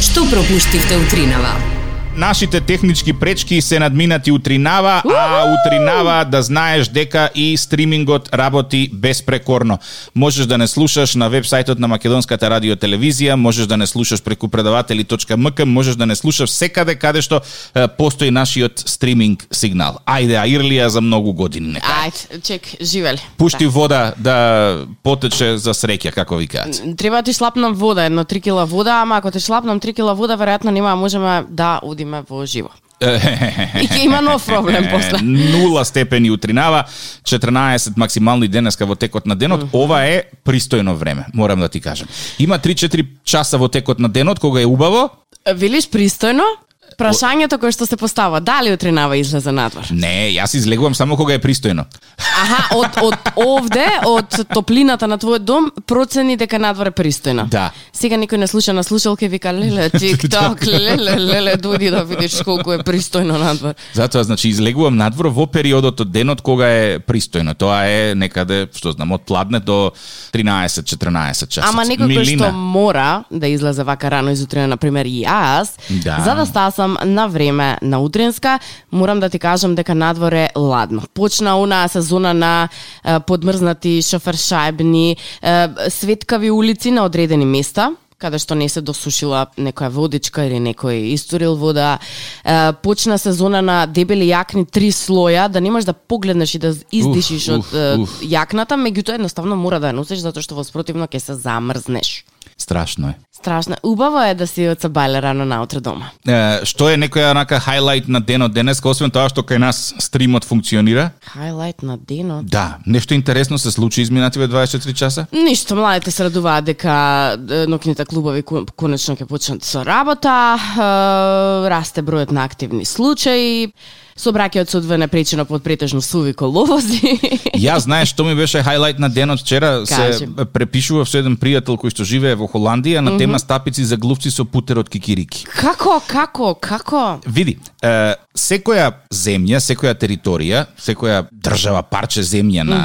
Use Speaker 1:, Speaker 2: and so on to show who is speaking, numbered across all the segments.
Speaker 1: што пропуштивте утринава.
Speaker 2: Нашите технички пречки се надминати утринава, а утринава да знаеш дека и стримингот работи безпрекорно. Можеш да не слушаш на вебсајтот на Македонската радио телевизија, можеш да не слушаш преку предаватели.мк, можеш да не слушаш секаде каде што е, постои нашиот стриминг сигнал. Ајде, а Ирлија за многу години нека.
Speaker 3: Ајде, чек, живели.
Speaker 2: Пушти вода да потече за среќа, како викаат.
Speaker 3: Треба да ти шлапнам вода, едно 3 кила вода, ама ако ти шлапнам 3 кила вода, веројатно нема да можеме да одиме во живо. И ќе има нов проблем после.
Speaker 2: Нула степени утринава, 14 максимални денеска во текот на денот. Ова е пристојно време, морам да ти кажам. Има 3-4 часа во текот на денот кога е убаво.
Speaker 3: Велиш пристојно? Прашањето кое што се постава, дали утринава излезе надвор?
Speaker 2: Не, јас излегувам само кога е пристојно.
Speaker 3: Аха, од, од овде, од топлината на твојот дом, процени дека надвор е пристојно.
Speaker 2: Да.
Speaker 3: Сега никој не слуша на слушалка и вика, леле, тик-ток, леле, леле, дојди да видиш колку е пристојно надвор.
Speaker 2: Затоа значи излегувам надвор во периодот од денот кога е пристојно. Тоа е некаде, што знам, од пладне до 13-14 часот.
Speaker 3: Ама некој кој што мора да излезе вака рано изутрина, на пример и јас,
Speaker 2: Да.
Speaker 3: за да стасам на време на утринска, морам да ти кажам дека надвор е ладно. Почна онаа сезона на е, подмрзнати шофершајбни, е, светкави улици на одредени места каде што не се досушила некоја водичка или некој истурил вода. Е, почна сезона на дебели јакни три слоја, да не можеш да погледнеш и да издишиш
Speaker 2: Уф,
Speaker 3: од
Speaker 2: уф,
Speaker 3: е,
Speaker 2: уф.
Speaker 3: јакната, меѓутоа едноставно мора да ја носиш затоа што во спротивно ќе се замрзнеш.
Speaker 2: Страшно е.
Speaker 3: Страшно. Убаво е да си од сабајле рано наутро дома.
Speaker 2: Е, што е некоја онака хайлайт на денот денеска, освен тоа што кај нас стримот функционира?
Speaker 3: Хайлайт на денот.
Speaker 2: Да, нешто интересно се случи изминативе 24 часа?
Speaker 3: Ништо, младите се радуваат дека е, ноќните клубови кон- конечно ќе почнат со работа, е, расте бројот на активни случаи, собраќајот со одвоена причина под претежно суви коловози.
Speaker 2: Ја знаеш што ми беше хайлайт на денот вчера, се
Speaker 3: Кажи.
Speaker 2: препишував со еден пријател кој што живее во Холандија на тема стапици за глувци со путер од кикирики.
Speaker 3: како, како, како?
Speaker 2: Види, е, секоја земја, секоја територија, секоја држава, парче земја на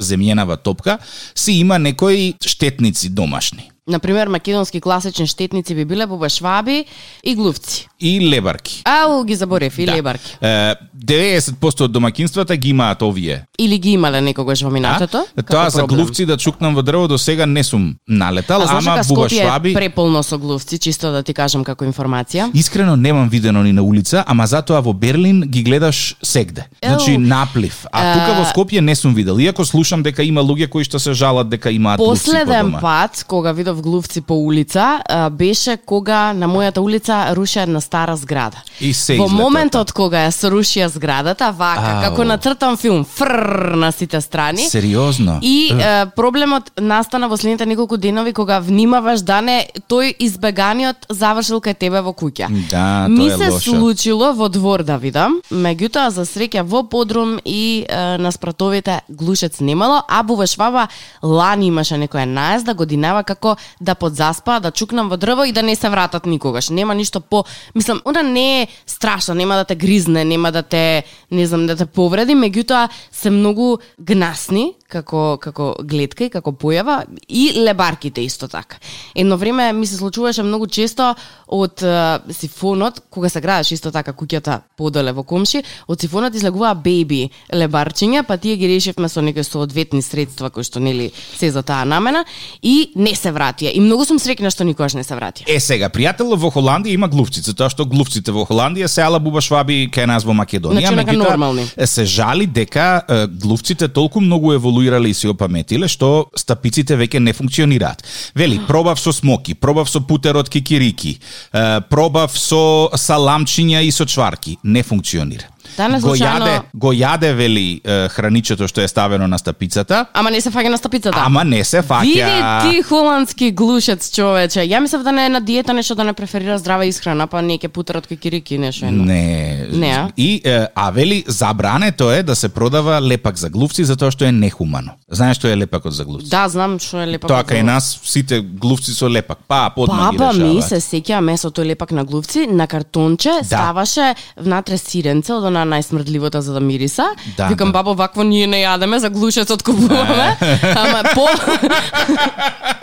Speaker 2: земјенава топка, си има некои штетници домашни
Speaker 3: Например, македонски класични штетници би биле бубашваби и глувци.
Speaker 2: и лебарки.
Speaker 3: Ау, ги заборев, и
Speaker 2: Да.
Speaker 3: лебарки.
Speaker 2: Е, 90% од домакинствата ги имаат овие.
Speaker 3: Или ги имале некогаш во
Speaker 2: а?
Speaker 3: минатото?
Speaker 2: Тоа
Speaker 3: како
Speaker 2: за
Speaker 3: проблем?
Speaker 2: глувци да чукнам во дрво до сега не сум налетал,
Speaker 3: А знаеш
Speaker 2: ама
Speaker 3: дека
Speaker 2: бува
Speaker 3: Скопје
Speaker 2: шваби.
Speaker 3: е преполно со глувци, чисто да ти кажам како информација.
Speaker 2: Искрено немам видено ни на улица, ама затоа во Берлин ги гледаш сегде.
Speaker 3: Еу.
Speaker 2: Значи наплив. А тука во Скопје не сум видел. Иако слушам дека има луѓе кои што се жалат дека имаат луци по
Speaker 3: Последен
Speaker 2: дома.
Speaker 3: пат кога видов глувци по улица а, беше кога на мојата улица руша една стара зграда.
Speaker 2: И се
Speaker 3: Во
Speaker 2: излета
Speaker 3: моментот кога ја срушија зградата, вака,
Speaker 2: Ау.
Speaker 3: како нацртан филм, фрр на сите страни.
Speaker 2: Сериозно?
Speaker 3: И е, проблемот настана во следните неколку денови кога внимаваш да не тој избеганиот завршил кај тебе во куќа.
Speaker 2: Да,
Speaker 3: Ми
Speaker 2: тоа е
Speaker 3: се
Speaker 2: лошо.
Speaker 3: случило во двор да видам, меѓутоа за среќа во подрум и е, на спратовите глушец немало, а бувашвава лани имаше некоја наезда годинава како да подзаспа, да чукнам во дрво и да не се вратат никогаш. Нема ништо по, мислам, она не е страшна, нема да те гризне, нема да те, не знам, да те повреди, меѓутоа се многу гнасни како како гледка и како појава и лебарките исто така. Едно време ми се случуваше многу често од е, сифонот кога се градеш исто така куќата подоле во комши, од сифонот излегуваа беби лебарчиња, па тие ги решивме со некои соодветни средства кои што нели се за таа намена и не се вратија. И многу сум среќна што никогаш не се вратија.
Speaker 2: Е сега, пријател во Холандија има глувци, затоа што глувците во Холандија се ала буба шваби кај нас во Македонија,
Speaker 3: Значи, онака
Speaker 2: меѓутоа,
Speaker 3: нормални.
Speaker 2: е, се жали дека е, глувците толку многу еволуирале и се опаметиле што стапиците веќе не функционираат. Вели, пробав со смоки, пробав со путер од кикирики, е, пробав со саламчиња и со чварки, не функционира.
Speaker 3: Данес
Speaker 2: го
Speaker 3: случајно-
Speaker 2: јаде, го јаде вели е, храничето што е ставено на стапицата,
Speaker 3: Ама не се фаќа на стапицата.
Speaker 2: ама не се фаќа.
Speaker 3: Види ти холандски глушец човече. Ја мислев да не е на диета нешто да не преферира здрава исхрана, па не ќе путерат кикирики нешто едно.
Speaker 2: Не.
Speaker 3: Не, а?
Speaker 2: И е, а вели забрането е да се продава лепак за глувци затоа што е нехумано. Знаеш што е лепакот за глувци?
Speaker 3: Да, знам што е лепак.
Speaker 2: Тоа
Speaker 3: од
Speaker 2: кај
Speaker 3: глувци.
Speaker 2: нас сите глувци со лепак. Па, подма ги
Speaker 3: па. Баба ми
Speaker 2: решаваат. Да.
Speaker 3: се сеќа месото лепак на глувци, на картонче, ставаше внатре сиренце од она најсмрдливото за да мириса.
Speaker 2: Да,
Speaker 3: Викам,
Speaker 2: да.
Speaker 3: бабо, вакво ние не јадеме, за глушецот купуваме. Ама, по...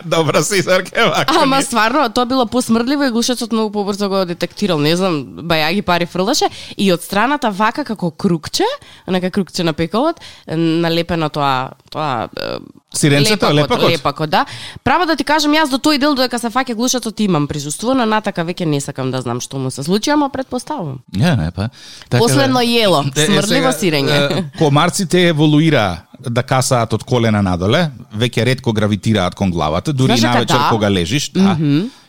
Speaker 2: Добра си, Сарке, вака.
Speaker 3: Ама стварно, тоа било посмрдливо и глушецот многу побрзо го детектирал, не знам, баја ги пари фрлаше и од страната вака како крукче, онака крукче на пеколот, налепено тоа, тоа е,
Speaker 2: Сиренцето, лепакот.
Speaker 3: лепакот, да. Право да ти кажам, јас до тој дел додека се фаќа глушецот имам присуство, на натака веќе не сакам да знам што му се случи, ама предпоставувам.
Speaker 2: Ја, не, па. Така
Speaker 3: Последно јело,
Speaker 2: Е, е,
Speaker 3: смрдливо
Speaker 2: сега,
Speaker 3: сирење.
Speaker 2: е, Комарците еволуираа да касаат од колена надоле, веќе ретко гравитираат кон главата, дури и
Speaker 3: Знаеш дека
Speaker 2: навечер
Speaker 3: да?
Speaker 2: кога лежиш, да.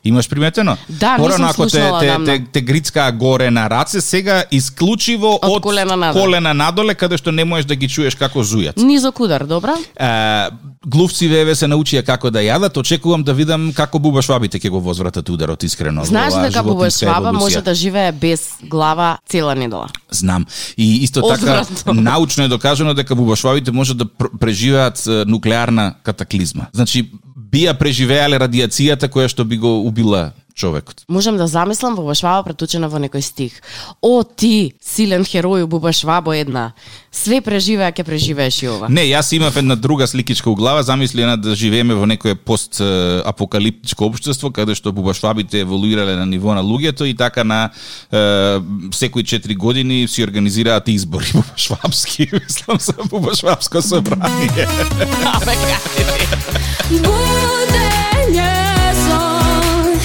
Speaker 2: Имаш приметено?
Speaker 3: Да,
Speaker 2: Порано
Speaker 3: нисам
Speaker 2: ако те,
Speaker 3: слушнала
Speaker 2: те,
Speaker 3: одамна.
Speaker 2: те, те грицкаа горе на раце, сега исклучиво од,
Speaker 3: Од колена надоле.
Speaker 2: колена надоле, каде што не можеш да ги чуеш како зујат.
Speaker 3: Низок удар, добра?
Speaker 2: Е, глувци веве се научија како да јадат, очекувам да видам како буба швабите ќе го возвратат ударот искрено.
Speaker 3: Знаеш
Speaker 2: Ова
Speaker 3: дека бубаш
Speaker 2: животинска
Speaker 3: шваба
Speaker 2: еволуција.
Speaker 3: може да живее без глава цела недела.
Speaker 2: Знам. И исто така
Speaker 3: Одвратно.
Speaker 2: научно е докажано дека бубашвавите може да пр- преживеат е, нуклеарна катаклизма. Значи бија преживеале радиацијата која што би го убила човекот.
Speaker 3: Можам да замислам Буба Шваба претучена во некој стих. О, ти, силен херој, Буба Швабо една. Све преживеа, ќе преживееш и ова.
Speaker 2: Не, јас имав една друга сликичка у глава, замисли една да живееме во некое пост е, апокалиптичко општество каде што бубашвабите еволуирале на ниво на луѓето и така на е, секои 4 години си организираат избори бубашвабски, мислам за бубашвабско собрание.
Speaker 1: Буденье сон,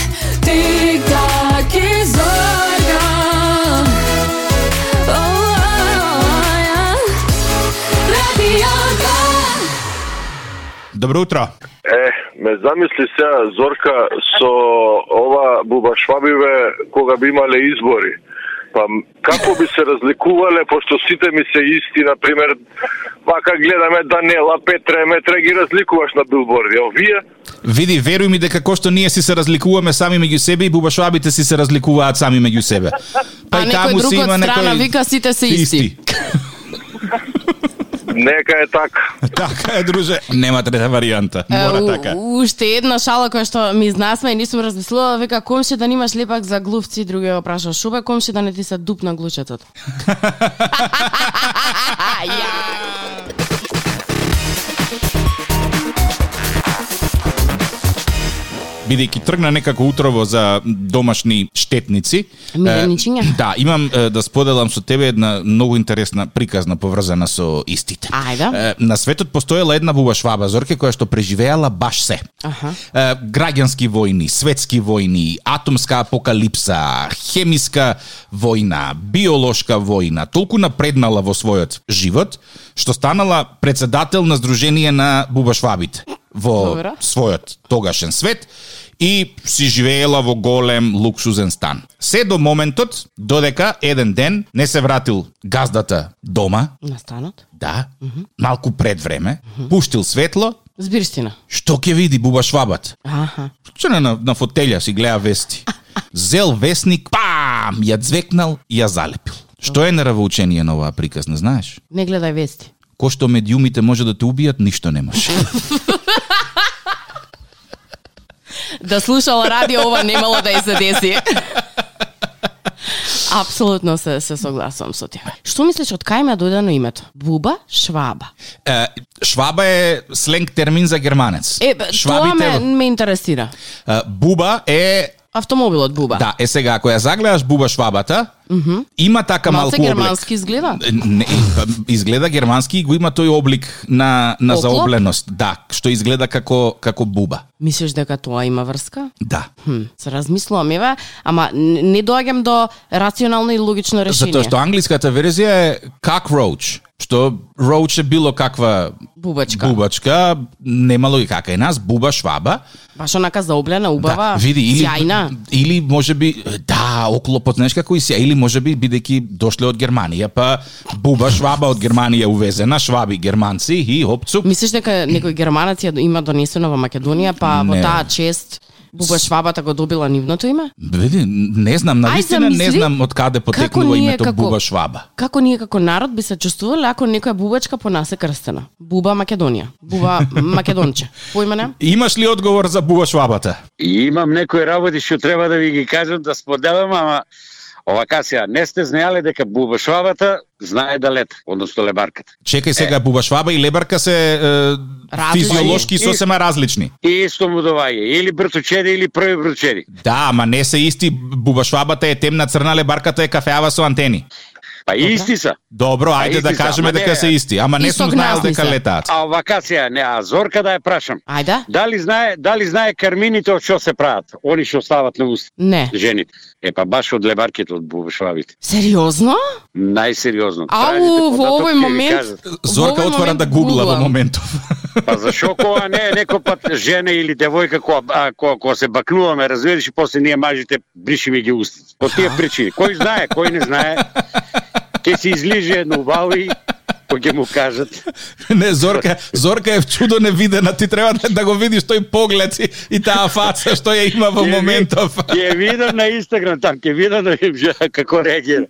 Speaker 1: тик-так и зорка. Ой, радио два.
Speaker 2: Добро утро.
Speaker 4: Е, ме замисли сега Зорка со ова бубашвабиве кога би имале избори. Па м- како би се разликувале, пошто сите ми се исти, например, вака гледаме Данела, Петре, Метре, ги разликуваш на билборди. А вие?
Speaker 2: Види, веруј ми дека кошто ние си се разликуваме сами меѓу себе и бубашвабите си се разликуваат сами меѓу себе. Па
Speaker 3: А некој друг од страна вика, сите се исти.
Speaker 4: Нека е така.
Speaker 2: така е, друже. Нема трета варијанта. Мора
Speaker 3: Е,
Speaker 2: така.
Speaker 3: у- Уште една шала која што ми изнасме и нисум размислила, века комши да немаш лепак за глувци, другиот го праша шубе, комши да не ти се дупна глучетот. Ја.
Speaker 2: Бидејќи тргна некако утрово за домашни штетници.
Speaker 3: Миленичиња.
Speaker 2: е, Да, имам е, да споделам со тебе една многу интересна приказна поврзана со истите.
Speaker 3: Ајде.
Speaker 2: Е, На светот постоела една бубашваба Зорке која што преживеала баш се.
Speaker 3: Аха.
Speaker 2: Е, Граѓански војни, светски војни, атомска апокалипса, хемиска војна, биолошка војна, толку напреднала во својот живот, што станала председател на Сдружение на бубашвабите во
Speaker 3: Добро.
Speaker 2: својот тогашен свет и си живеела во голем луксузен стан. Се до моментот додека еден ден не се вратил газдата дома,
Speaker 3: На станот.
Speaker 2: да, малку пред време, пуштил светло,
Speaker 3: Збирштина.
Speaker 2: што ќе види буба швабат?
Speaker 3: Аха.
Speaker 2: Чена на, на фотелја си гледа вести. Зел вестник, пам, ја звекнал и ја залепил. Што е нравоучение на оваа приказ, не знаеш?
Speaker 3: Не гледај вести.
Speaker 2: Кој што медиумите може да те убијат, ништо не може.
Speaker 3: да слушала радио ова немало да ја се деси. Апсолутно се се согласувам со тебе. Што мислиш од кај ми е додено името? Буба Шваба.
Speaker 2: Е, шваба е сленг термин за германец.
Speaker 3: Е, бе, тоа ме, ме интересира.
Speaker 2: е, буба е
Speaker 3: Автомобилот Буба.
Speaker 2: Да, е сега ако ја загледаш буба швабата, има така малку
Speaker 3: Малце
Speaker 2: облик.
Speaker 3: германски изгледа.
Speaker 2: Не, па, изгледа германски и го има тој облик на на
Speaker 3: Оклоп?
Speaker 2: заобленост, да, што изгледа како како буба.
Speaker 3: Мислиш дека тоа има врска?
Speaker 2: Да.
Speaker 3: Хм, се размислувам еве, ама не не доаѓам до рационално и логично решение.
Speaker 2: Затоа што англиската верзија е cockroach, што roach е било каква
Speaker 3: Бубачка.
Speaker 2: бубачка, немало и кака е нас, буба шваба.
Speaker 3: Баш онака заоблена, убава,
Speaker 2: да, види, или,
Speaker 3: Па, сјајна.
Speaker 2: или може би, да, оклопот, знаеш како и сја, или може би, бидејќи дошле од Германија, па буба шваба од Германија увезена, шваби германци и опцук.
Speaker 3: Мислиш дека некој германец ја има донесено во Македонија, па во
Speaker 2: Не.
Speaker 3: таа чест Буба Швабата го добила нивното име?
Speaker 2: Види, не знам,
Speaker 3: Ај,
Speaker 2: навистина не
Speaker 3: замисли,
Speaker 2: знам од каде
Speaker 3: како
Speaker 2: потекнува
Speaker 3: ние,
Speaker 2: името
Speaker 3: како-
Speaker 2: буба шваба.
Speaker 3: Како ние како народ би се чувствувале ако некоја бубачка по нас е крстена? Буба Македонија, Буба Македонче. Поиме не?
Speaker 2: Имаш ли одговор за буба швабата?
Speaker 5: И имам некои работи што треба да ви ги кажам, да споделам, ама Овака сега, не сте знаеле дека бубашвабата знае да лета, односно лебарката.
Speaker 2: Чекај сега, бубашваба и лебарка се е,
Speaker 3: Различни.
Speaker 2: физиолошки
Speaker 5: И-
Speaker 2: сосема различни.
Speaker 5: И исто му доваѓа, или бртучеди, или први бртучеди.
Speaker 2: Да, ама не се исти, бубашвабата е темна црна, лебарката е кафеава со антени.
Speaker 5: Па и исти са.
Speaker 2: Добро, ајде
Speaker 5: исти
Speaker 2: да
Speaker 5: са,
Speaker 2: кажеме
Speaker 5: ама не.
Speaker 2: дека се исти, ама не
Speaker 3: И
Speaker 2: сум
Speaker 3: со
Speaker 2: знаел
Speaker 3: гнасни
Speaker 2: дека
Speaker 3: се.
Speaker 2: летаат.
Speaker 5: А овака сега, не, а Зорка да ја прашам.
Speaker 3: Ајде.
Speaker 5: Дали знае, дали знае кармините од што се прават? Они што стават на уст
Speaker 3: Не.
Speaker 5: жените. Е па баш од лебарките од бубашвабите.
Speaker 3: Сериозно?
Speaker 5: Најсериозно.
Speaker 3: Ау,
Speaker 5: Трајдите
Speaker 3: во
Speaker 5: податок,
Speaker 3: овој
Speaker 5: ќе ви
Speaker 3: момент...
Speaker 5: кажат.
Speaker 3: во
Speaker 2: Зорка
Speaker 3: овој
Speaker 2: отвора
Speaker 3: момент
Speaker 2: да гугла во
Speaker 3: гуглам.
Speaker 2: моментов.
Speaker 5: Па зашо кога не е некој пат жена или девојка која а, која, која се бакнуваме, разбираш, и после ние мажите бришиме ги устите. По тие причини. Кој знае, кој не знае, ќе се излиже едно убаво и кој ќе му кажат.
Speaker 2: Не, Зорка, Зорка е в чудо невидена, ти треба да, да го видиш тој поглед и, и таа фаца што ја има во
Speaker 5: Ќе ви-
Speaker 2: моментов.
Speaker 5: Ќе видам на Инстаграм там, ќе видам на како реагира.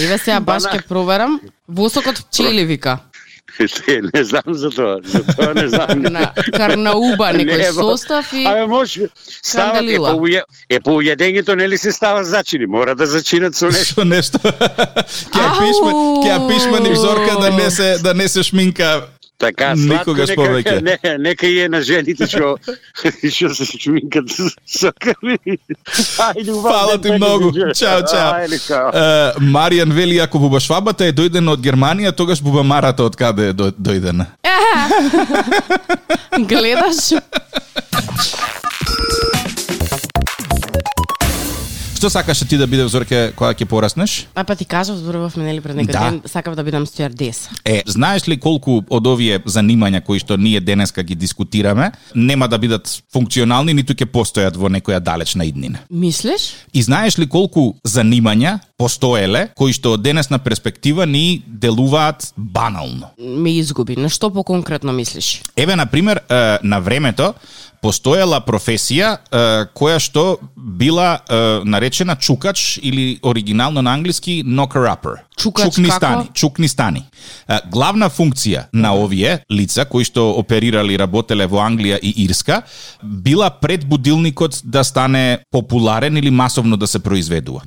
Speaker 3: Еве сега баш
Speaker 5: Бана.
Speaker 3: ќе проверам. Восокот пчели вика.
Speaker 5: Не знам за тоа, за тоа не знам.
Speaker 3: На карнауба
Speaker 5: Не,
Speaker 3: некој
Speaker 5: во-
Speaker 3: состав и
Speaker 5: Абе може стават е
Speaker 3: Канделила.
Speaker 5: по уе- е по уедењето нели се става зачини, мора да зачинат со нешто.
Speaker 2: Што нешто. Ќе ја
Speaker 3: Ау!
Speaker 2: пишме, ќе ја пишме ни Зорка да не се да не се шминка.
Speaker 5: Така, сладко
Speaker 2: Никогаш
Speaker 5: нека,
Speaker 2: повеќе.
Speaker 5: Не, нека и е на жените што што се шминкат со крви. Ајде, убав
Speaker 2: Фала
Speaker 5: ден,
Speaker 2: ти
Speaker 5: нека
Speaker 2: многу.
Speaker 5: се чуе.
Speaker 2: Чао, чао.
Speaker 5: Ајде, чао.
Speaker 2: Е, Маријан вели ако бубашвабата е дојдена од Германија, тогаш бубамарата од каде е до- дојдена?
Speaker 3: гледаш.
Speaker 2: Што сакаше ти да биде Зорке кога ќе пораснеш?
Speaker 3: А па ти кажав, зборувавме нели пред некој
Speaker 2: Да.
Speaker 3: ден, сакав да бидам стюардеса.
Speaker 2: Е, знаеш ли колку од овие занимања кои што ние денеска ги дискутираме, нема да бидат функционални, ниту ќе постојат во некоја далечна иднина.
Speaker 3: Мислиш?
Speaker 2: И знаеш ли колку занимања постоеле кои што од денесна перспектива ни делуваат банално?
Speaker 3: Ме изгуби. На што по-конкретно мислиш?
Speaker 2: Еве, на пример, е, на времето постоела професија е, која што била е, наречена чукач или оригинално на англиски knocker-upper.
Speaker 3: Чукач
Speaker 2: чукни
Speaker 3: како?
Speaker 2: стани, чукни стани. Е, Главна функција на овие лица кои што оперирали и работеле во Англија и Ирска била пред будилникот да стане популарен или масовно да се произведува.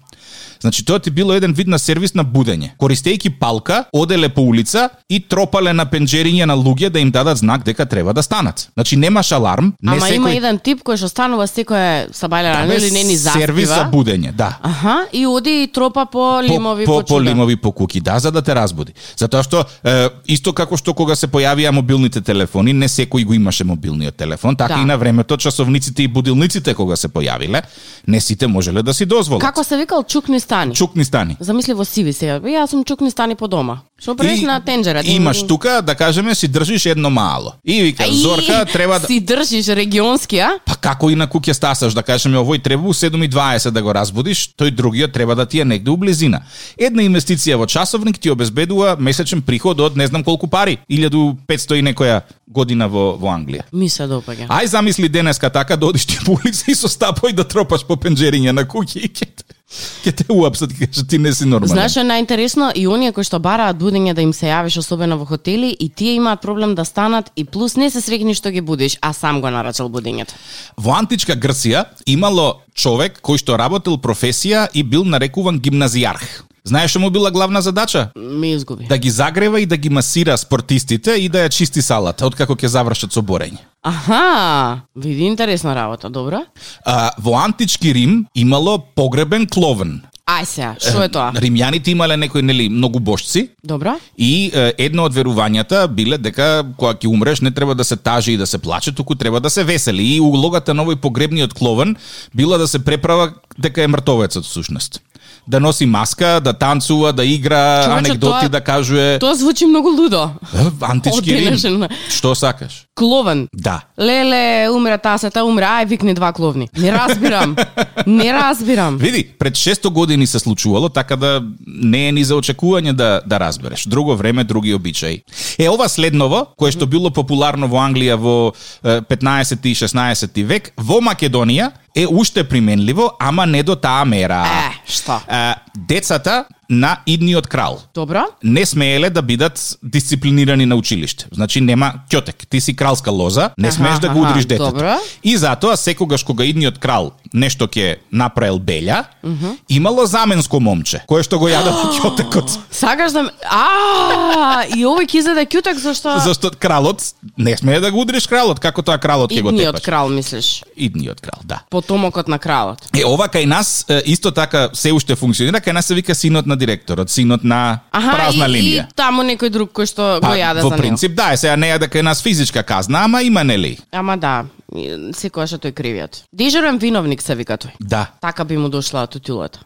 Speaker 2: Значи тоа ти било еден вид на сервис на будење. Користејќи палка, оделе по улица и тропале на пенџериња на луѓе да им дадат знак дека треба да станат. Значи немаш аларм, не
Speaker 3: Ама
Speaker 2: секој Да
Speaker 3: има еден тип кој што станува секоја сабајле рано
Speaker 2: Абе,
Speaker 3: или не ни
Speaker 2: сервис за
Speaker 3: заспива.
Speaker 2: будење, да.
Speaker 3: Аха, и оди и тропа по лимови
Speaker 2: по, по, по
Speaker 3: чуда.
Speaker 2: лимови по куки, да, за да те разбуди. Затоа што е, исто како што кога се појавија мобилните телефони, не секој го имаше мобилниот телефон, така
Speaker 3: Да.
Speaker 2: и на времето часовниците и будилниците кога се појавиле, не сите можеле да си дозволат.
Speaker 3: Како се викал чукни стани?
Speaker 2: Чукни стани.
Speaker 3: Замисли во сиви сега. Бе, Јас сум чукни стани по дома. Што правиш
Speaker 2: И
Speaker 3: на тенџера?
Speaker 2: Имаш тука, да кажеме, си држиш едно мало. И вика,
Speaker 3: Ај,
Speaker 2: Зорка, треба да...
Speaker 3: Си држиш регионски, а?
Speaker 2: Па како инаку ќе стасаш, да кажеме, овој треба у 7.20 да го разбудиш, тој другиот треба да ти е негде у близина. Една инвестиција во часовник ти обезбедува месечен приход од не знам колку пари, 1500 и некоја година во, во Англија.
Speaker 3: Ми се допаѓа.
Speaker 2: Ај замисли денеска така да одиш ти по улица и со стапој да тропаш по пенџериња на куќи и ќе те- ќе те уапсат, ќе кажат ти не си нормален.
Speaker 3: Знаеш што е најинтересно и оние кои што бараат будење да им се јавиш особено во хотели и тие имаат проблем да станат и плюс не се среќни што ги будиш, а сам го нарачал будењето.
Speaker 2: Во античка Грција имало човек кој што работел професија и бил нарекуван гимназијарх. Знаеш што му била главна задача?
Speaker 3: Ме изгуби.
Speaker 2: Да ги загрева и да ги масира спортистите и да ја чисти салата откако ќе завршат со борење.
Speaker 3: Аха, види интересна работа, добро?
Speaker 2: А, во антички Рим имало погребен кловен.
Speaker 3: Ај сега, што е тоа?
Speaker 2: Римјаните имале некои нели многу бошци
Speaker 3: Добро?
Speaker 2: И е, едно од верувањата биле дека кога ќе умреш не треба да се тажи и да се плаче, туку треба да се весели. И улогата на овој погребниот кловен била да се преправа дека е мртовецот всушност. Да носи маска, да танцува, да игра,
Speaker 3: Човече,
Speaker 2: анекдоти
Speaker 3: тоа-
Speaker 2: да кажува.
Speaker 3: Тоа звучи многу лудо.
Speaker 2: Е, Антички Рим.
Speaker 3: Одденешен.
Speaker 2: Што сакаш?
Speaker 3: Кловен.
Speaker 2: Да.
Speaker 3: Леле, умира тасета, умира, ај викни два кловни. Не разбирам. Не разбирам.
Speaker 2: Види, пред 600 години се случувало, така да не е ни за очекување да да разбереш. Друго време, други обичаи. Е ова следново, кое што било популарно во Англија во е, 15 и 16 век, во Македонија е уште применливо, ама не до таа мера.
Speaker 3: Е, што?
Speaker 2: Е, децата на идниот крал.
Speaker 3: Добро?
Speaker 2: не смееле да бидат дисциплинирани на училиште. Значи нема ќотек, ти си кралска лоза, не
Speaker 3: Аха,
Speaker 2: смееш да го
Speaker 3: аха,
Speaker 2: удриш детето.
Speaker 3: добро.
Speaker 2: И затоа секогаш кога идниот крал нешто ќе направил белја, имало заменско момче, кое што го јадало ќотекот.
Speaker 3: Сакаш да ме... А, и овој ќе изеде кјутек зашто...
Speaker 2: Зашто кралот не смее да го удриш кралот, како тоа кралот ќе го
Speaker 3: Идниот
Speaker 2: тепаш.
Speaker 3: крал, мислиш?
Speaker 2: Идниот крал, да.
Speaker 3: Потомокот на кралот.
Speaker 2: Е, ова кај нас е, исто така се уште функционира, кај нас се вика синот на директорот, синот на празна
Speaker 3: и,
Speaker 2: линија.
Speaker 3: и таму некој друг кој што
Speaker 2: Па,
Speaker 3: го јаде
Speaker 2: во
Speaker 3: за него.
Speaker 2: принцип, да, е, сега не е дека е нас физичка казна, ама има нели.
Speaker 3: Ама да, и- секогаш е тој кривиот. Дежурен виновник се вика тој.
Speaker 2: Да.
Speaker 3: Така би му дошла титулата.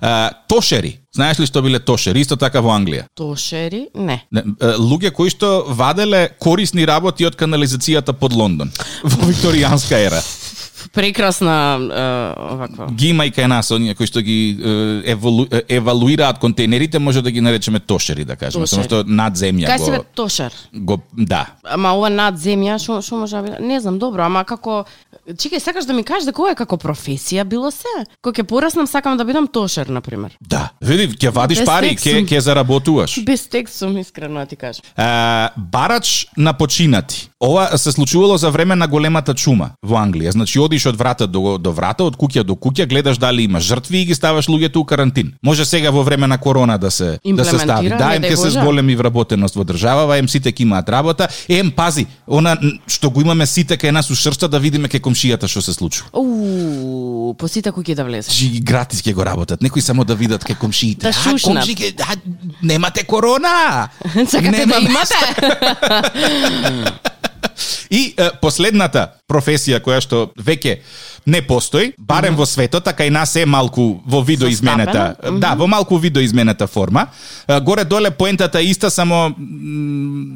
Speaker 2: А, тошери. Знаеш ли што биле тошери? Исто така во Англија.
Speaker 3: Тошери? Не.
Speaker 2: Не, е, Луѓе кои што ваделе корисни работи од канализацијата под Лондон во викторијанска ера.
Speaker 3: Прекрасна е, оваква.
Speaker 2: Ги има и кај нас, оние кои што ги е, еволу, е, евалуираат контейнерите, може да ги наречеме тошери, да кажеме, само
Speaker 3: Тошери.
Speaker 2: што над земја
Speaker 3: Кај си бе
Speaker 2: го,
Speaker 3: тошер?
Speaker 2: го, да.
Speaker 3: Ама ова над земја, што што може да биде? Не знам, добро, ама како Чекај, сакаш да ми кажеш дека ова е како професија било се? Кога ќе пораснам сакам да бидам тошер на пример.
Speaker 2: Да, види, ќе вадиш
Speaker 3: Без
Speaker 2: пари,
Speaker 3: секс
Speaker 2: ќе
Speaker 3: сум.
Speaker 2: ќе заработуваш.
Speaker 3: Без текст сум искрено да ти кажам.
Speaker 2: А, барач на починати. Ова се случувало за време на големата чума во Англија. Значи одиш од врата до, до врата, од куќа до куќа, гледаш дали има жртви и ги ставаш луѓето у карантин. Може сега во време на корона да се да се стави.
Speaker 3: Имплементира,
Speaker 2: Да,
Speaker 3: не
Speaker 2: им
Speaker 3: дај
Speaker 2: ќе се
Speaker 3: Боже.
Speaker 2: зголеми вработеност во државава, им сите ќе имаат работа. Ем пази, она н- што го имаме сите кај нас у шршта да видиме кај комшијата што се случува.
Speaker 3: Уу, по сите куќи да влезеш.
Speaker 2: Чи ги гратис ќе го работат. Некои само да видат кај комшиите.
Speaker 3: Да шушнат.
Speaker 2: комши ке- а, немате корона.
Speaker 3: Сакате да
Speaker 2: Нема
Speaker 3: имате?
Speaker 2: И е, последната професија која што веќе не постои, барем во светот, а кај нас е малку во видоизменета.
Speaker 3: Застапено.
Speaker 2: Да, во малку видоизменета форма. Е, Горе доле поентата е иста, само м,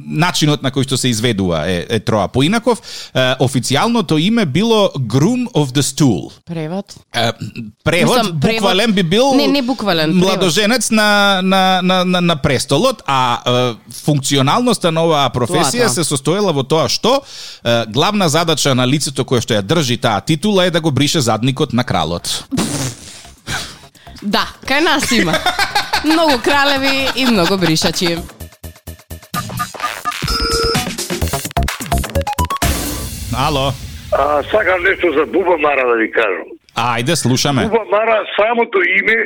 Speaker 2: начинот на кој што се изведува е, е троа поинаков. Е, Официјалното име било Groom of the Stool.
Speaker 3: Превод.
Speaker 2: Е, превод,
Speaker 3: Мислам, превод-
Speaker 2: буквален би бил
Speaker 3: Не, не буквален, превод.
Speaker 2: младоженец на, на, на, на, на престолот, а е, функционалноста на оваа професија
Speaker 3: Тоа, да.
Speaker 2: се состоела во тоа што е, главна задача на лицето кое што ја држи таа титула е да го брише задникот на кралот.
Speaker 3: Да, кај нас има. Многу кралеви и многу бришачи.
Speaker 2: Ало.
Speaker 4: А, сакам нешто за Буба Мара да ви кажам.
Speaker 2: Ајде, слушаме.
Speaker 4: Буба Мара, самото име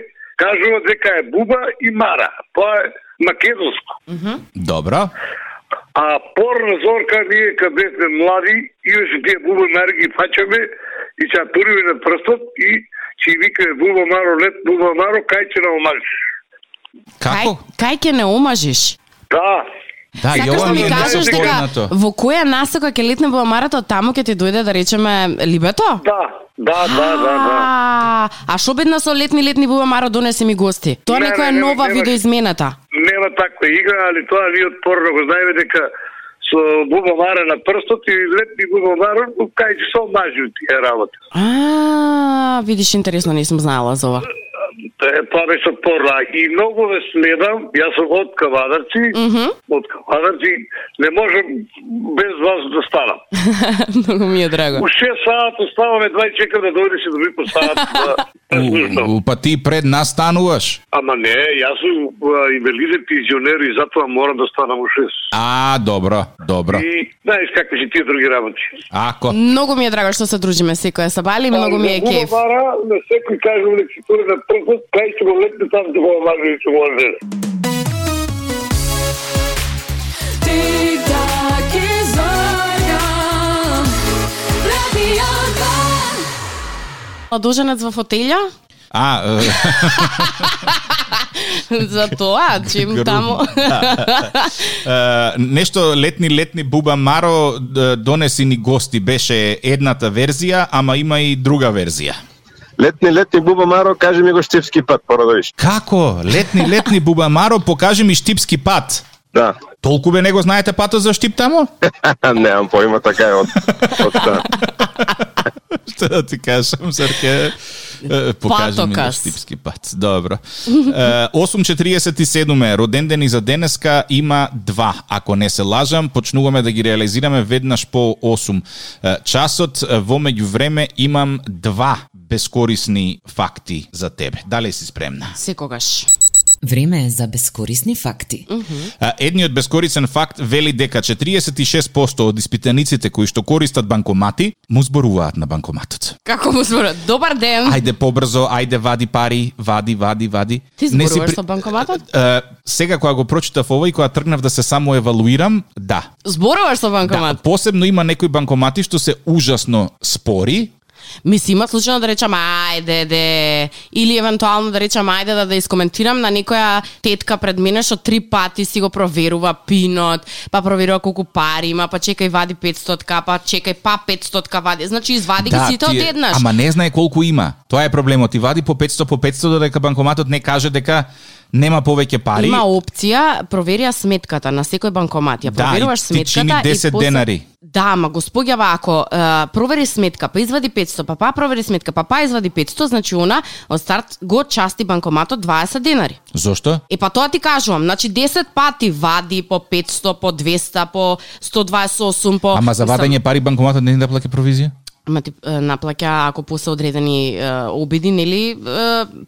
Speaker 4: кажува дека е Буба и Мара. Тоа е македонско.
Speaker 2: Добро.
Speaker 4: А порна зорка ние каде сме млади, и уште тие Буба Мара ги фаќаме и ќе ја туриме на прстот и ќе ја викаме Буба Маро лет, Буба Маро, кај ќе на омажиш.
Speaker 3: Кај,
Speaker 2: Како?
Speaker 3: кај ќе не омажиш?
Speaker 4: Да,
Speaker 2: Да, и
Speaker 3: Сакаш
Speaker 2: ова
Speaker 3: да
Speaker 2: ми
Speaker 3: ми
Speaker 2: е
Speaker 3: кажеш
Speaker 4: некој
Speaker 3: дека
Speaker 2: недостојнато.
Speaker 3: во која насока ќе летне во Амарата, таму ќе ти дојде да речеме либето?
Speaker 4: да, да, да, да, да.
Speaker 3: А, а шо бедна со летни летни бува Мара донесе ми гости. Тоа
Speaker 4: Не,
Speaker 3: некоја
Speaker 4: не, не,
Speaker 3: нова
Speaker 4: не, не.
Speaker 3: видоизмената.
Speaker 4: Нема таква игра, али тоа ние од порно го знаеме дека со Буба Мара на прстот и летни Буба Маро, кај ќе се омажи тие работи.
Speaker 3: А, видиш интересно, не сум знаела за ова.
Speaker 4: Е, Тоа беше порла. И многу ве следам, јас сум од Кавадарци, од Кавадарци, не можам без вас да станам.
Speaker 3: Многу ми е драго.
Speaker 4: У 6 саат оставаме, двај чекам да дојдеш и да ви посадат да те слушнам.
Speaker 2: У, у, па ти пред нас стануваш.
Speaker 4: Ама не, јас сум а, инвалиден пензионер и затоа морам да станам у 6.
Speaker 2: А, добро, добро.
Speaker 4: И знаеш какви се тие други работи.
Speaker 2: Ако.
Speaker 3: Многу ми е драго што се дружиме секоја сабали, многу ми е кеф.
Speaker 4: Мара, на секој кажам нека си тури на прстот, кај ќе го летне там да го омаже и ќе го омаже.
Speaker 1: Тик-так и зорка Радио 2
Speaker 3: Ладоженец во фотелја?
Speaker 2: А, е,
Speaker 3: За тоа, чим
Speaker 2: Грубо.
Speaker 3: таму.
Speaker 2: Е, нешто летни летни Буба Маро д- донеси ни гости беше едната верзија, ама има и друга верзија.
Speaker 6: Летни, летни, Буба Маро, кажи ми го штипски пат, Парадовиш.
Speaker 2: Како? Летни летни Буба Маро покажи ми штипски пат.
Speaker 6: Да.
Speaker 2: Толку бе него знаете патот за штип тамо?
Speaker 6: Немам поима, така е од... од та.
Speaker 2: Што да ти кажам, Сарке? Е, Покажи ми го
Speaker 3: Патокас.
Speaker 2: штипски пат. Добро. Е, 8.47 е, роден ден и за денеска има два, ако не се лажам. Почнуваме да ги реализираме веднаш по 8 е, часот. Е, Во меѓувреме имам два бескорисни факти за тебе. Дали си спремна?
Speaker 3: Секогаш.
Speaker 1: Време е за безкорисни факти.
Speaker 2: А, Едниот бескорисен факт вели дека 46% од испитаниците кои што користат банкомати му зборуваат на банкоматот.
Speaker 3: Како му зборат? Добар ден.
Speaker 2: Ајде побрзо, ајде вади пари, вади, вади, вади.
Speaker 3: Ти
Speaker 2: Не си
Speaker 3: зборуваш со банкоматот?
Speaker 2: Е, сега кога го прочитав ова и кога тргнав да се само евалуирам, да.
Speaker 3: Зборуваш со
Speaker 2: Да,
Speaker 3: банкомат.
Speaker 2: посебно има некои банкомати што се ужасно спори,
Speaker 3: Мисли, има случајно да речам ајде де или евентуално да речам ајде да да искоментирам на некоја тетка пред мене што три пати си го проверува пинот, па проверува колку пари има, па чекај вади 500к, па чекај па 500к вади. Значи извади ги сите
Speaker 2: Да, ти е-
Speaker 3: одеднаш.
Speaker 2: Ама не знае колку има. Тоа е проблемот. Ти вади по 500 по 500 додека банкоматот не каже дека нема повеќе пари.
Speaker 3: Има опција, проверија сметката на секој банкомат. Ја
Speaker 2: Да,
Speaker 3: проверуваш
Speaker 2: и ти
Speaker 3: сметката
Speaker 2: чини 10
Speaker 3: и после...
Speaker 2: денари.
Speaker 3: Да, ма го споѓава ако е, провери сметка, па извади 500, па па провери сметка, па па извади 500, значи она од старт го части банкоматот 20 денари.
Speaker 2: Зошто?
Speaker 3: Е па тоа ти кажувам, значи 10 пати вади по 500, по 200, по 128, по
Speaker 2: Ама за вадење пари банкоматот не ни да плаке провизија?
Speaker 3: Ма ти е, наплаќа ако после одредени е, обиди, нели, е,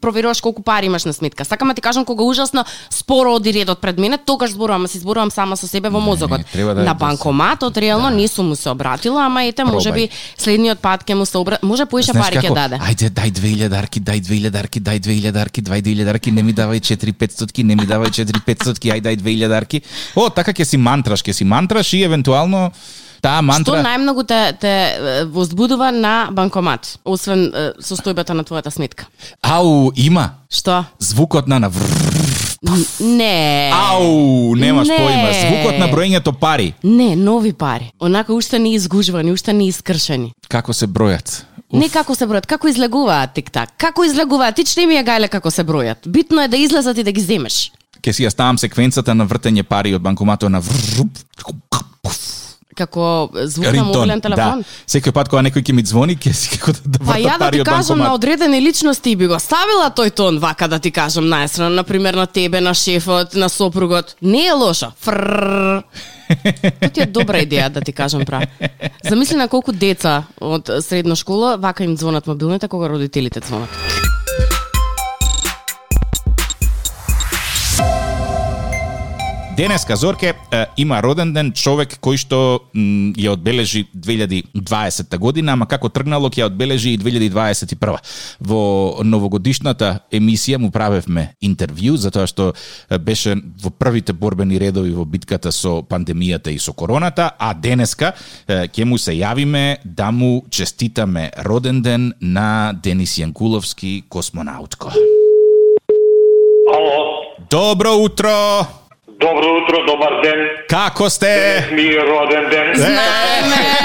Speaker 3: проверуваш колку пари имаш на сметка. Сакам да ти кажам кога ужасно споро оди редот пред мене, тогаш зборувам, а си зборувам сама со себе во мозокот.
Speaker 2: треба да-
Speaker 3: на
Speaker 2: да се-
Speaker 3: банкоматот реално да. не сум му се обратила, ама ете можеби следниот пат ќе му се обра... може поише
Speaker 2: Знаеш
Speaker 3: пари ќе
Speaker 2: како?
Speaker 3: даде.
Speaker 2: Ајде, дај 2000 дарки, дај 2000 дарки, дај 2000 дарки, дај 2000 дарки, не ми давај 4500-ки, не ми давај 4500-ки, ај дај 2000 дарки. О, така ќе си мантраш, ќе си мантраш и евентуално таа
Speaker 3: Што
Speaker 2: мантра
Speaker 3: најмногу те, те е, возбудува на банкомат, освен е, состојбата на твојата сметка?
Speaker 2: Ау, има
Speaker 3: Што?
Speaker 2: звукот на на
Speaker 3: Н- Не.
Speaker 2: Ау, немаш
Speaker 3: Не.
Speaker 2: поима, звукот на броењето пари.
Speaker 3: Не, нови пари. Онака уште не изгужвани, уште не искршени.
Speaker 2: Како се бројат?
Speaker 3: Не како се бројат, како излегуваат тик-так. Како излегуваат, ти што ми ја гајле како се бројат. Битно е да излезат и да ги земеш.
Speaker 2: Ке си ја ставам секвенцата на вртење пари од банкоматот на
Speaker 3: Како звук на
Speaker 2: Рингтон.
Speaker 3: мобилен телефон. Да.
Speaker 2: Секој пат кога некој ќе ми звони, ќе си како да, да
Speaker 3: Па
Speaker 2: вртам
Speaker 3: ја да
Speaker 2: пари
Speaker 3: ти
Speaker 2: од
Speaker 3: кажам на
Speaker 2: банкомат.
Speaker 3: одредени личности би го ставила тој тон вака да ти кажам најсрано, на пример на тебе, на шефот, на сопругот. Не е лошо. Фрррр. Тоа ти е добра идеја да ти кажам прав. Замисли на колку деца од средна школа вака им звонат мобилните кога родителите звонат.
Speaker 2: Денеска Зорке е, има роден ден човек кој што м, ја одбележи 2020 година, ама како тргнало ќе ја одбележи и 2021. Во новогодишната емисија му правевме интервју затоа што е, беше во првите борбени редови во битката со пандемијата и со короната, а денеска е, ќе му се јавиме да му честитаме роден ден на Денис Јанкуловски космонаутко.
Speaker 4: Ало,
Speaker 2: Добро утро!
Speaker 4: добро утро, добар ден,
Speaker 2: Како сте?
Speaker 4: ми е роден ден.
Speaker 3: Знаеме!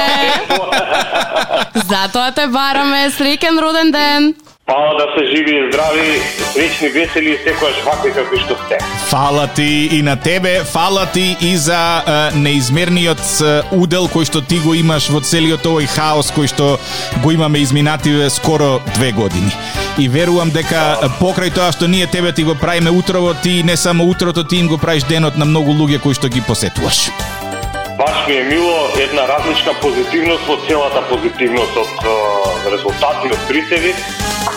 Speaker 3: Затоа те бараме среќен роден ден.
Speaker 4: Па да се живи и здрави, среќни, весели и секојаш вакви какви што сте.
Speaker 2: Фала ти и на тебе, фала ти и за е, неизмерниот е, удел кој што ти го имаш во целиот овој хаос кој што го имаме изминативе скоро две години. И верувам дека е, покрај тоа што ние тебе ти го правиме утрово, ти не само утрото, ти им го правиш денот на многу луѓе кои што ги посетуваш.
Speaker 4: Баш ми е мило една различна позитивност од целата позитивност од е, резултати од присеви,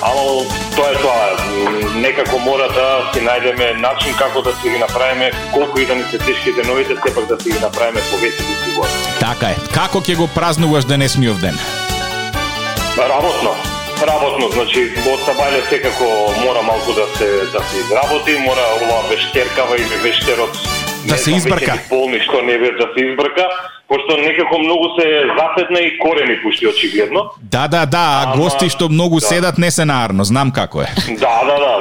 Speaker 4: ало тоа е тоа. М, Некако мора да си најдеме начин како да си ги направиме, колку и да ни се тешки деновите, сепак да си ги направиме повесели си го.
Speaker 2: Така е. Како ќе го празнуваш да денесниот ден?
Speaker 4: Работно. Работно, значи од сабајле секако мора малку да се да се изработи, мора оваа вештеркава или вештерот
Speaker 2: Да
Speaker 4: не
Speaker 2: се
Speaker 4: знам,
Speaker 2: избрка.
Speaker 4: веќе ни Полни што не бе да се избрка, пошто некако многу се заседна и корени пушти очигледно.
Speaker 2: Да, да, да, а
Speaker 4: Ама,
Speaker 2: гости што многу
Speaker 4: да.
Speaker 2: седат не се наарно, знам како е.
Speaker 4: Да, да, да.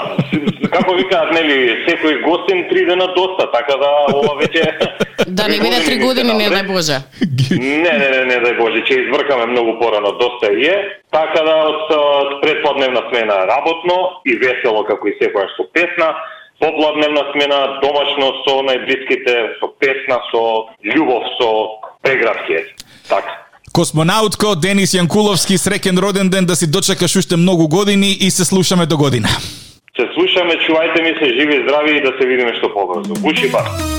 Speaker 4: Како викаат, нели, секој гостин три дена доста, така да ова веќе
Speaker 3: Да не биде три години, не дај Боже.
Speaker 4: Не, не, не, не, дај Боже, ќе избркаме многу порано, доста и е. Така да од а, предподневна смена работно и весело како и секојаш со песна, попладневна смена домашно со најблиските, со песна, со љубов, со преградки. Така.
Speaker 2: Космонаутко Денис Јанкуловски, среќен роден ден да си дочекаш уште многу години и се слушаме до година.
Speaker 4: Се слушаме, чувајте ми се, живи и здрави и да се видиме што побрзо. Буши бар.